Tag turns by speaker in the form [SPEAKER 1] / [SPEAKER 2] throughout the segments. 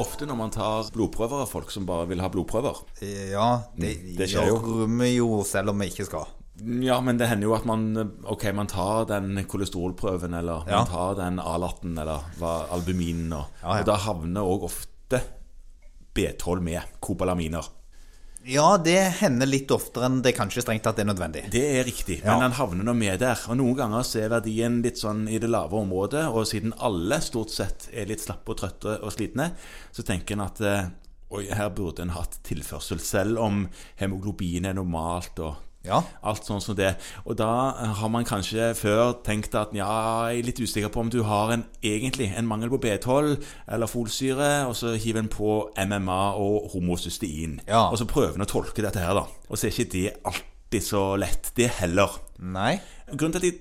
[SPEAKER 1] Ofte når man tar blodprøver av folk som bare vil ha blodprøver.
[SPEAKER 2] Ja, det,
[SPEAKER 1] Mm, det skjer jo.
[SPEAKER 2] gjør vi jo selv om vi ikke skal.
[SPEAKER 1] Ja, men det hender jo at man Ok, man tar den kolesterolprøven, eller
[SPEAKER 2] Ja.
[SPEAKER 1] man tar den A-latten, eller hva, albuminen og
[SPEAKER 2] Ja, ja.
[SPEAKER 1] Og da havner òg ofte B12 med. Kobalaminer.
[SPEAKER 2] Ja, det hender litt oftere enn det kanskje strengt tatt er nødvendig.
[SPEAKER 1] Det er riktig,
[SPEAKER 2] Ja.
[SPEAKER 1] men den havner nå med der. Og noen ganger så er verdien litt sånn i det lave området, og siden alle stort sett er litt slappe og trøtte og slitne, så tenker en at eh, oi, her burde en hatt tilførsel, selv om hemoglobin er normalt og
[SPEAKER 2] Ja.
[SPEAKER 1] alt sånn som det. Og da har man kanskje før tenkt at ja, jeg er litt usikker på om du har en, egentlig en mangel på B12 eller folsyre, og så hiver en på MMA og homocystein.
[SPEAKER 2] Ja.
[SPEAKER 1] Og så prøver en å tolke dette her, da. Og så er ikke det alltid så lett, det heller.
[SPEAKER 2] Nei.
[SPEAKER 1] Grunnen til at jeg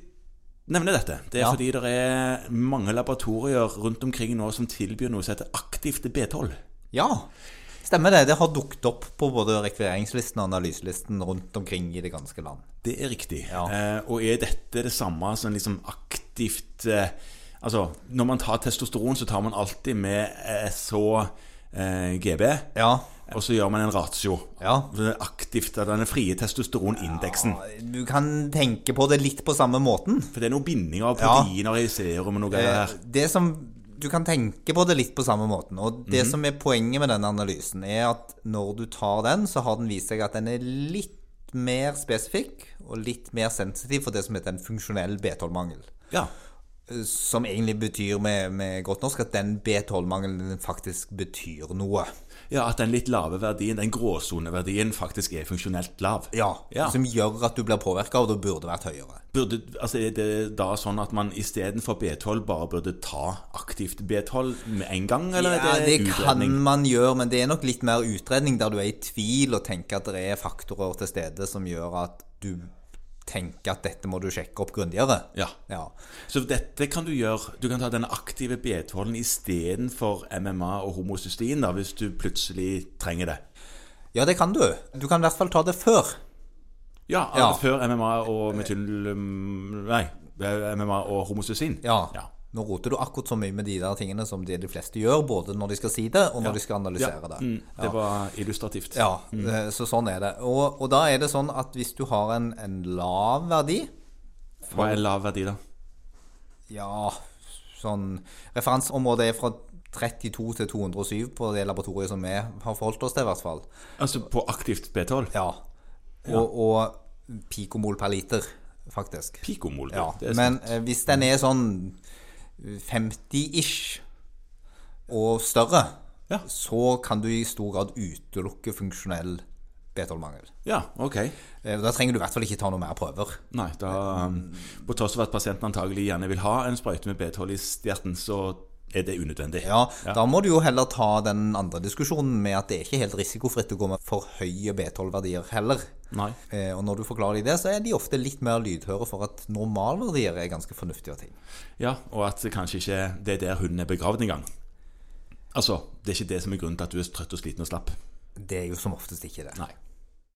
[SPEAKER 1] nevner dette, det er
[SPEAKER 2] Ja.
[SPEAKER 1] fordi det er mange laboratorier rundt omkring nå som tilbyr noe som heter aktivt B12.
[SPEAKER 2] Ja. Stemmer det. Det har dukket opp på både rekvireringslisten og analyselisten rundt omkring i det ganske land.
[SPEAKER 1] Det er riktig.
[SPEAKER 2] Ja.
[SPEAKER 1] Eh, og er dette det samme som liksom aktivt eh, Altså, når man tar testosteron, så tar man alltid med eh, så eh, GB.
[SPEAKER 2] Ja.
[SPEAKER 1] Og så gjør man en ratio.
[SPEAKER 2] Ja.
[SPEAKER 1] Så det er Aktivt av denne frie testosteronindeksen.
[SPEAKER 2] Du kan tenke på det litt på samme måten.
[SPEAKER 1] For det er noen bindinger av
[SPEAKER 2] Ja.
[SPEAKER 1] proteiner i serum og noe greier
[SPEAKER 2] Eh,
[SPEAKER 1] her.
[SPEAKER 2] Det som Du kan tenke på det litt på samme måten. Og det som er poenget med denne analysen, er at når du tar den, så har den vist seg at den er litt mer spesifikk og litt mer sensitiv for det som heter en funksjonell B12-mangel.
[SPEAKER 1] Ja.
[SPEAKER 2] Eh, Som egentlig betyr med, med godt norsk at den B12-mangelen faktisk betyr noe.
[SPEAKER 1] ja, at den litt lave verdien, den gråsoneverdien, faktisk er funksjonelt lav. Ja.
[SPEAKER 2] Som gjør at du blir påvirka, og det burde vært høyere.
[SPEAKER 1] Burde, altså er det da sånn at man istedenfor B12 bare burde ta aktivt B12 med en gang, eller eh,
[SPEAKER 2] Ja,
[SPEAKER 1] er det,
[SPEAKER 2] det kan man gjøre, men det er nok litt mer utredning der du er i tvil og tenker at det er faktorer til stede som gjør at du tenker at dette må du sjekke opp grundigere.
[SPEAKER 1] Ja.
[SPEAKER 2] Ja.
[SPEAKER 1] Så dette kan du gjøre. Du kan ta den aktive B12-en istedenfor MMA og homocystein da, hvis du plutselig trenger det.
[SPEAKER 2] ja, det kan du. Du kan i hvert fall ta det før.
[SPEAKER 1] Ja,
[SPEAKER 2] Ja.
[SPEAKER 1] altså før MMA og metyl... Nei, MMA og homocystein.
[SPEAKER 2] Ja. Nå roter du akkurat så mye med de der tingene som det de fleste gjør, både når de skal si det, og når de skal analysere
[SPEAKER 1] Ja,
[SPEAKER 2] det.
[SPEAKER 1] mm, det var illustrativt.
[SPEAKER 2] Ja, eh, så sånn er det. Og, og da er det sånn at hvis du har en, en lav verdi,
[SPEAKER 1] Hva er lav verdi, da?
[SPEAKER 2] Ja, sånn Referanseområdet er fra 32 til 207 på det laboratoriet som vi har forholdt oss til, i hvert fall.
[SPEAKER 1] Altså på aktivt B12?
[SPEAKER 2] Ja. Og, og pikomol per liter, faktisk.
[SPEAKER 1] Pikomol.
[SPEAKER 2] Ja.
[SPEAKER 1] det er
[SPEAKER 2] Men eh, hvis den er sånn 50-ish og større,
[SPEAKER 1] Ja.
[SPEAKER 2] så kan du i stor grad utelukke funksjonell B12-mangel.
[SPEAKER 1] ja, ok.
[SPEAKER 2] Eh, Da trenger du i hvert fall ikke ta noen mer prøver.
[SPEAKER 1] Nei, da, um, på tross av at pasienten antagelig gjerne vil ha en sprøyte med B12 i stjerten, så er det unødvendig.
[SPEAKER 2] Ja, da må du jo heller ta den andre diskusjonen med at det er ikke helt risikofritt å gå med for høye B12-verdier heller.
[SPEAKER 1] Nei.
[SPEAKER 2] Eh, og når du forklarer dem det, så er de ofte litt mer lydhøre for at normalverdier er ganske fornuftige ting.
[SPEAKER 1] Ja, og at det kanskje ikke det er der hunden er begravd engang. Altså, det er ikke det som er grunnen til at du er trøtt og sliten og slapp.
[SPEAKER 2] Det er jo som oftest ikke det.
[SPEAKER 1] Nei.